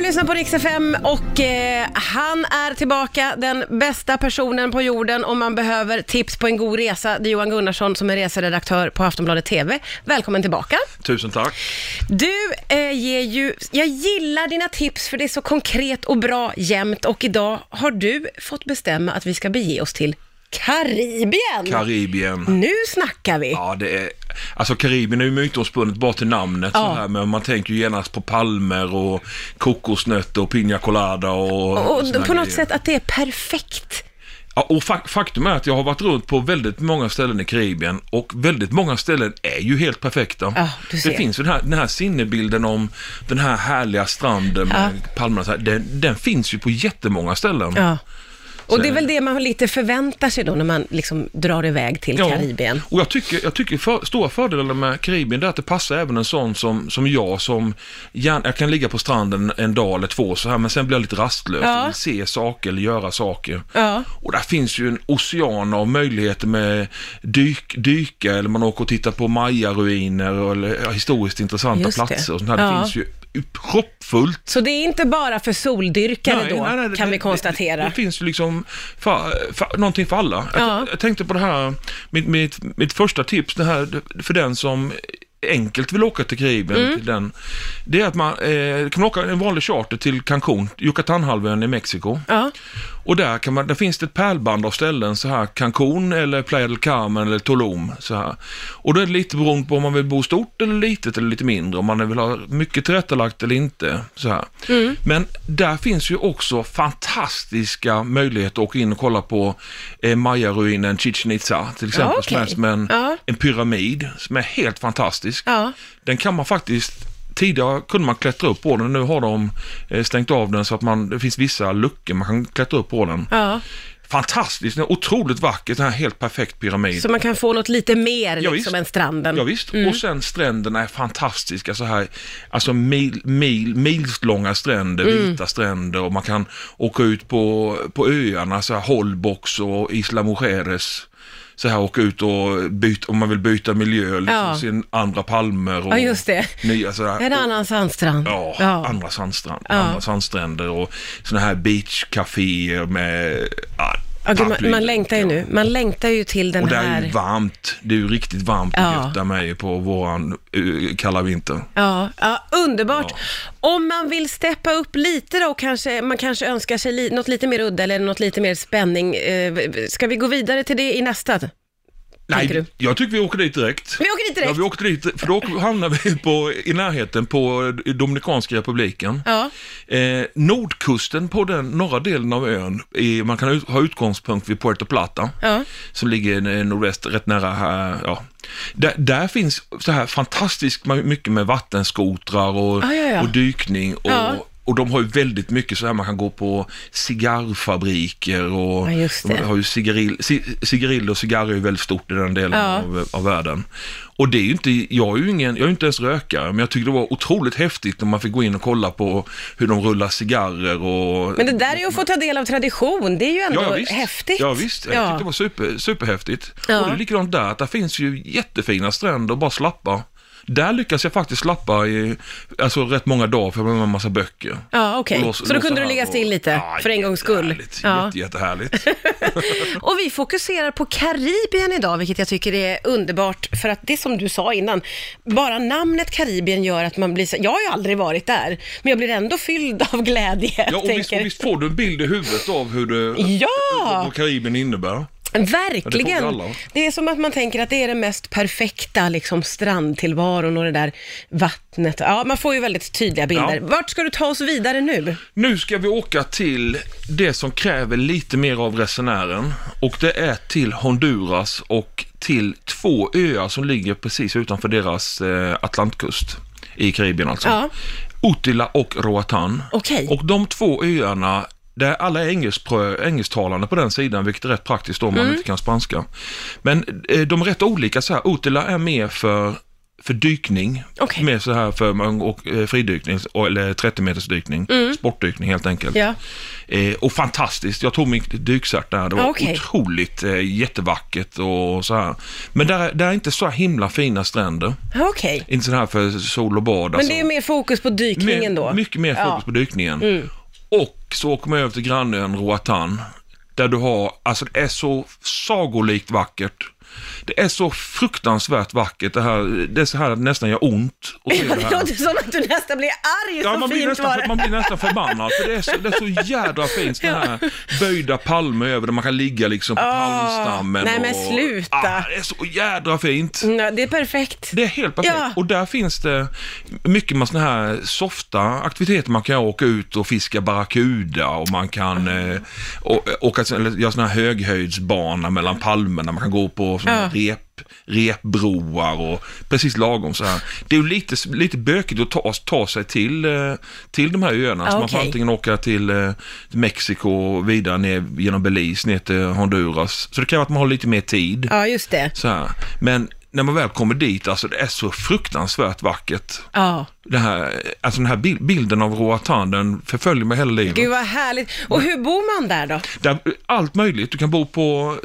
lyssnar på Rix FM och eh, han är tillbaka, den bästa personen på jorden om man behöver tips på en god resa. Det är Johan Gunnarsson som är reseredaktör på Aftonbladet TV. Välkommen tillbaka. Tusen tack. Du eh, ger ju, jag gillar dina tips för det är så konkret och bra jämt och idag har du fått bestämma att vi ska bege oss till Karibien. Karibien. nu snackar vi. Ja, det är... Alltså Karibien är ju mytomspunnet bara till namnet Ja. så här, men man tänker ju genast på palmer och kokosnötter och pina colada och... och såna på något grejer. sätt att det är perfekt. Ja, och fak- faktum är att jag har varit runt på väldigt många ställen i Karibien och väldigt många ställen är ju helt perfekta. Ja, du ser. det finns ju den här, den här sinnebilden om den här härliga stranden med palmerna och så här, den, den finns ju på jättemånga ställen. Ja. Och det är väl det man lite förväntar sig då när man liksom drar iväg till Ja, Karibien. Och jag tycker, jag tycker för, stora fördelar med Karibien det är att det passar även en sån som, som jag som gärna, jag kan ligga på stranden en dag eller två så här men sen blir jag lite rastlös Ja. och vill se saker eller göra saker. Ja. Och där finns ju en ocean av möjligheter med dyk, dyka eller man åker och tittar på mayaruiner eller ja, historiskt intressanta Just det. platser och sånt här. Det Ja. finns ju proppfullt Så det är inte bara för soldyrkare då, det- kan det- vi konstatera. Det, det finns ju liksom för, för, någonting för alla. Ja. Jag, jag tänkte på det här, mitt, mitt, mitt första tips det här, för den som enkelt vill åka till Karibien, Mm. till den, det är att man eh, kan åka en vanlig charter till Cancún, Yucatanhalvön i Mexiko. ja. Och där, kan man, där finns det ett pärlband av ställen, så här Cancún eller Playa del Carmen eller Tulum. Så här. Och då är det lite beroende på om man vill bo stort eller litet eller lite mindre, om man vill ha mycket tillrättalagt eller inte. Så här. Mm. Men där finns ju också fantastiska möjligheter att åka in och kolla på eh, Maya-ruinen Chichen Itza till exempel, Ja, okej. som är som en, Ja. en pyramid som är helt fantastisk. Ja. Den kan man faktiskt Tidigare kunde man klättra upp på den, nu har de eh, stängt av den så att man, det finns vissa luckor man kan klättra upp på den. ja. Fantastiskt, den är otroligt vacker, den här helt perfekt pyramid. Så man kan få något lite mer Ja, visst. liksom än stranden. Mm. Ja, visst. och sen stränderna är fantastiska så här, alltså mil, mil, milslånga stränder, Mm. vita stränder och man kan åka ut på, på öarna, så här Holbox och Isla Mujeres. Så här åka ut och byta, om man vill byta miljö, liksom, Ja. se andra palmer och Ja, just det. nya sådär. En annan sandstrand. Ja, andra, sandstrand, Ja. andra sandstränder och sådana här beachcaféer med ja, Ja, gud, man, paraply. man längtar ju nu. Man längtar ju till den Och det är ju här... varmt. Det är ju riktigt varmt och Ja. gött där med på våran eh, kalla vinter. Ja, ja, underbart. Om man vill steppa upp lite då, och kanske, man kanske önskar sig li, något lite mer udda eller något lite mer spänning. Eh, ska vi gå vidare till det i nästa? Tänker du? Nej, jag tycker vi åker dit direkt. Vi åker dit direkt. Ja, vi åker dit, för då åker- hamnar vi på, i närheten på Dominikanska republiken. Ja. Eh, nordkusten på den norra delen av ön, i, man kan ut, ha utgångspunkt vid Puerto Plata, Ja. som ligger eh, nordväst, rätt nära här. Ja. Där, där finns så här fantastiskt ma- mycket med vattenskotrar och, Ah, ja, ja. och dykning. Och, Ja. och de har ju väldigt mycket så här, man kan gå på cigarrfabriker och Ja, just de det. har ju cigarill, ci- cigarill och cigarr är ju väldigt stort i den delen Ja. av, av världen. Och det är ju inte, jag är ju ingen, jag är ju inte ens rökare, men jag tyckte det var otroligt häftigt när man fick gå in och kolla på hur de rullar cigarrer och... Men det där är ju att få ta del av tradition. Det är ju ändå häftigt. Ja, visst. Jag tyckte det var super, superhäftigt. Ja. Och det är likadant där, att där finns ju jättefina stränder och bara slappa. Där lyckas jag faktiskt slappa i, alltså rätt många dagar för jag har med en massa böcker. Ja, okej. Och Så då kunde här du ligga still lite, för en gångs skull. jättehärligt. Ja. Jätte, jättehärligt. Och vi fokuserar på Karibien idag, vilket jag tycker är underbart, för att det som du sa innan, bara namnet Karibien gör att man blir så, jag har ju aldrig varit där, men jag blir ändå fylld av glädje. Ja, och visst, och tänker. visst får du en bild i huvudet av hur det, Ja! vad Karibien innebär. Ja, det Verkligen. får vi alla. det är som att man tänker att det är den mest perfekta liksom, strandtillvaron och det där vattnet. Ja, man får ju väldigt tydliga bilder. Ja. Vart ska du ta oss vidare nu? Nu ska vi åka till det som kräver lite mer av resenären och det är till Honduras och till två öar som ligger precis utanför deras eh, atlantkust i Karibien alltså. Ja. Utila och Roatan. Okej. Och de två öarna där alla är engelskprö, engelsktalande på den sidan, vilket är rätt Mm. praktiskt om man inte kan spanska. Men eh, de är rätt olika så här. Utila är mer för för dykning. Okej. Mer så här för man- och, eh, fridykning, och- eller 30 meters dykning, sportdykning helt enkelt. Mm. Ja. Eh, och fantastiskt, jag tog min dykcert där. Det var Ja, Ah, okej. otroligt eh, jättevackert och så här. Men där, där är inte så här himla fina stränder. Ja, Okej. Inte så här för sol och bad. Men alltså. det är mer fokus på dykningen Mer- då? Mycket mer fokus på dykningen. Mm. Och så åker man över till grannön Roatan, där du har, alltså det är så sagolikt vackert. Det är så fruktansvärt vackert det här, det är så här att det nästan gör ont att se Ja, det det här. låter som att du nästan blir arg, Ja, så man blir, fint nästan, var det. man blir nästan förbannad för det är så, det är så jädra fint sådana här böjda palmer över där man kan ligga liksom på palmstammen. nej, men och- sluta. Ah, det är så jädra fint. Ja, det är perfekt. Det är helt perfekt. Ja. Och där finns det mycket med sådana här softa aktiviteter. Man kan åka ut och fiska barracuda och man kan eh, å- åka, eller göra sådana här höghöjdsbana mellan palmerna. Man kan gå på såna här rep, repbroar och precis lagom så här. Det är ju lite, lite bökigt att ta, ta sig till, eh, till de här öarna. Ah, så man får okej. antingen åka till eh, till Mexiko och vidare ner genom Belize ner till Honduras. Så det kräver att man har lite mer tid. Ja, just det. Så här. Men när man väl kommer dit, alltså det är så fruktansvärt vackert. Ja. Det här, alltså den här bil- bilden av Roatan, den förföljer mig hela livet. Gud vad härligt. Och hur bor man där då? Där, allt möjligt, du kan bo på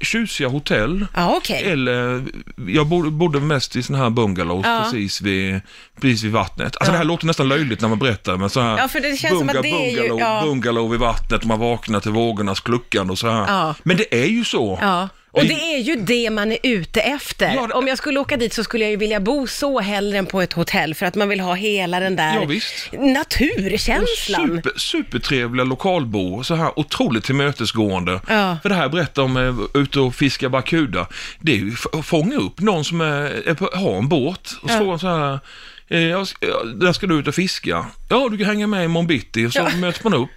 tjusiga hotell. Ja, okej. Eh, Eller, jag bodde, bodde mest i sådana här bungalows Ja. precis, vid, precis vid vattnet. Alltså det här låter nästan löjligt när man berättar, men så här, Ja, för det känns som att det är ju- bungalow, ja. bungalow vid vattnet och man vaknar till vågornas kluckande och så här. Ja. Men det är ju så. Ja. Och det är ju det man är ute efter. Ja, det- Om jag skulle åka dit så skulle jag ju vilja bo så hellre än på ett hotell för att man vill ha hela den där Ja, visst. naturkänslan. Super, supertrevliga lokalbor, och så här otroligt tillmötesgående. Ja. För det här jag berättar om eh, ute och fiska barracuda, det är ju f- att fånga upp någon som är, är på, har en båt och fråga så här, eh, jag ska- ja, där ska du ut och fiska. Ja, du kan hänga med imorgon bitti, så Ja. möts man upp.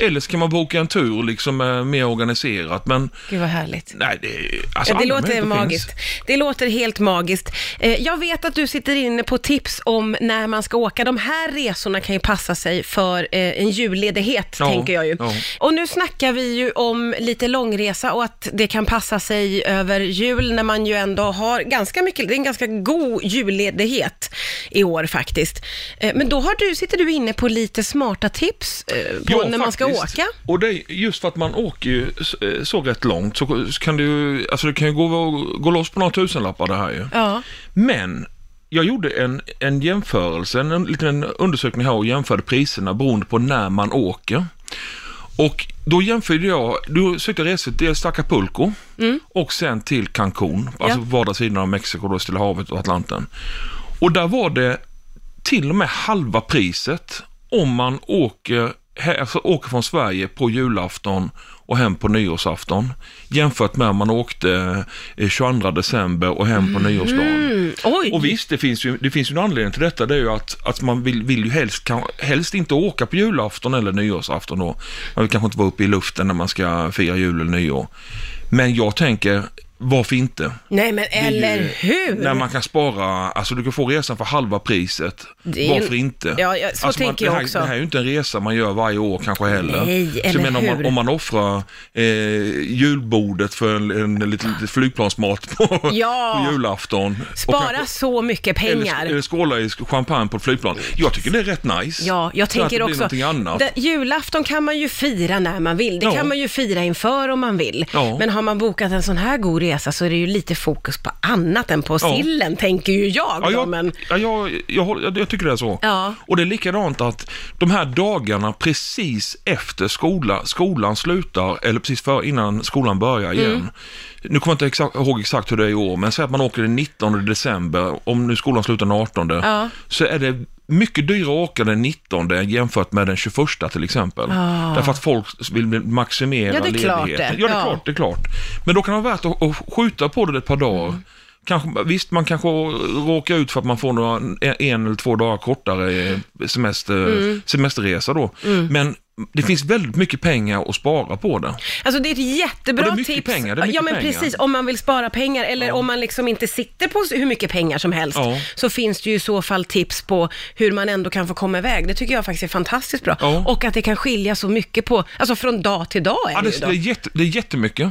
Eller så kan man boka en tur liksom eh, mer organiserat, men Gud vad härligt. nej, det, är- alltså, Ja, det alla låter möjligheter magiskt. finns. Det låter helt magiskt. Eh, Jag vet att du sitter inne på tips om när man ska åka. De här resorna kan ju passa sig för eh, en julledighet, Ja, tänker jag ju. ja. Och nu snackar vi ju om lite långresa och att det kan passa sig över jul när man ju ändå har ganska mycket, det är en ganska god julledighet i år faktiskt. Eh, Men då har du, sitter du inne på lite smarta tips eh, på när man ska faktiskt. åka. Och det är just för att man åker ju så, eh, så rätt långt så så kan det ju, alltså det kan ju gå, gå loss på några tusenlappar det här ju. Ja. Men jag gjorde en, en jämförelse, en, en liten undersökning här och jämförde priserna beroende på när man åker. Och då jämförde jag, då sökte jag resor dels till Acapulco och sen till Cancun, alltså Mm. Ja. vardera sidan av Mexiko, då Stilla havet och Atlanten. Och där var det till och med halva priset om man åker, he- alltså åker från Sverige på julafton och hem på nyårsafton jämfört med om man åkte eh, 22 december och hem på nyårsdagen. Mm, oj! Och visst, det finns ju, det finns ju en anledning till detta. Det är ju att, att man vill, vill ju helst, kan, helst inte åka på julafton eller nyårsafton då. Man vill kanske inte vara uppe i luften när man ska fira jul eller nyår. Men jag tänker, varför inte? Nej men Det är ju- eller hur! När man kan spara, alltså du kan få resan för halva priset. Det är- Varför inte? Alltså, Ja, ja, så man, tänker det jag här, också. Det här är ju inte en resa man gör varje år kanske heller. Nej, så eller jag menar, om, man, hur? om man offrar eh, julbordet för en, en liten, liten flygplansmat på, Ah. Ja. på julafton. och Spara kanske- så mycket pengar. Eller, eller skåla i champagne på ett flygplan. Jag tycker det är rätt nice. Ja, jag Så att tänker det blir också, någonting annat. det- julafton kan man ju fira när man vill. Det Ja. kan man ju fira inför om man vill. Ja. Men har man bokat en sån här god resa så är det ju lite fokus på annat än på Ja. sillen, tänker ju jag. Ja, då, jag, men, ja, jag, jag, håller- jag, jag tycker det är så. Ja. Och det är likadant att de här dagarna precis efter skola, skolan slutar, eller precis för, innan skolan börjar Mm. igen. Nu kommer jag inte exa- ihåg exakt hur det är i år, men säg att man åker den 19 december, om nu skolan slutar den 18, Ja. så är det mycket dyrare att åka den 19 jämfört med den 21 till exempel. Ah. Därför att folk vill maximera Ja, det är klart ledigheten. det. Ja, det är Ja. klart det är klart. Men då kan det vara värt att, att skjuta på det ett par dagar. Mm. Kanske, visst, man kanske råkar ut för att man får några, en eller två dagar kortare semester, Mm. semesterresa då. Men det finns väldigt mycket pengar att spara på det. alltså det är ett jättebra Och det är mycket tips. pengar, det är mycket ja, men pengar. precis. Om man vill spara pengar eller om man liksom inte sitter på hur mycket pengar som helst, Ja. så finns det ju i så fall tips på hur man ändå kan få komma iväg. Det tycker jag faktiskt är fantastiskt bra. Ja. Och att det kan skilja så mycket på, alltså från dag till dag. Är Ja, det, ju det, då. det, är jätte, det är jättemycket.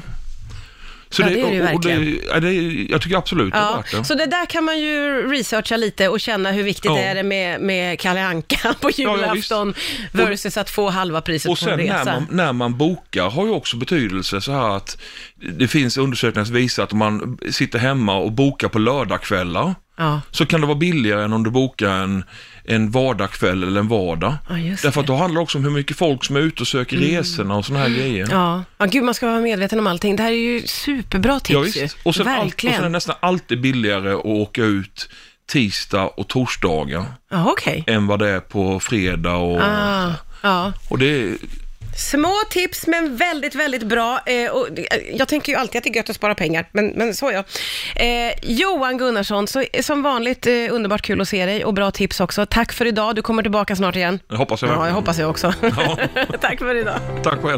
Så Ja, det är det ju och- och verkligen. ja, det är, jag tycker absolut det är Ja, värt det. så det där kan man ju researcha lite och känna hur viktigt Ja. det är med, med Kalle Anka på ja, julafton versus att få halva priset Och på en sen när resa. man, när man bokar har ju också betydelse så här att det finns undersökningar som visar att om man sitter hemma och bokar på lördagskvällar Ja. så kan det vara billigare än om du bokar en, en vardagskväll eller en vardag. Ja, just Mm. Därför att då handlar det också om hur mycket folk som är ute och söker resorna och sådana här grejer. Ja. ja, gud man ska vara medveten om allting. Det här är ju superbra Ja, tips ju. visst. Och sen, allt, och sen Verkligen. är det nästan alltid billigare att åka ut tisdag och torsdagar Ja, okej. än vad det är på fredag och... Ah, ja. Och det, Små tips men väldigt, väldigt bra. Eh, och, eh, jag tänker ju alltid att det är gött att spara pengar, men, men så ja. Eh, Johan Gunnarsson, så, som vanligt eh, underbart kul att se dig och bra tips också. Tack för idag, du kommer tillbaka snart igen. det hoppas jag Ja, jag verkligen. hoppas jag också. Tack för idag. Tack själv.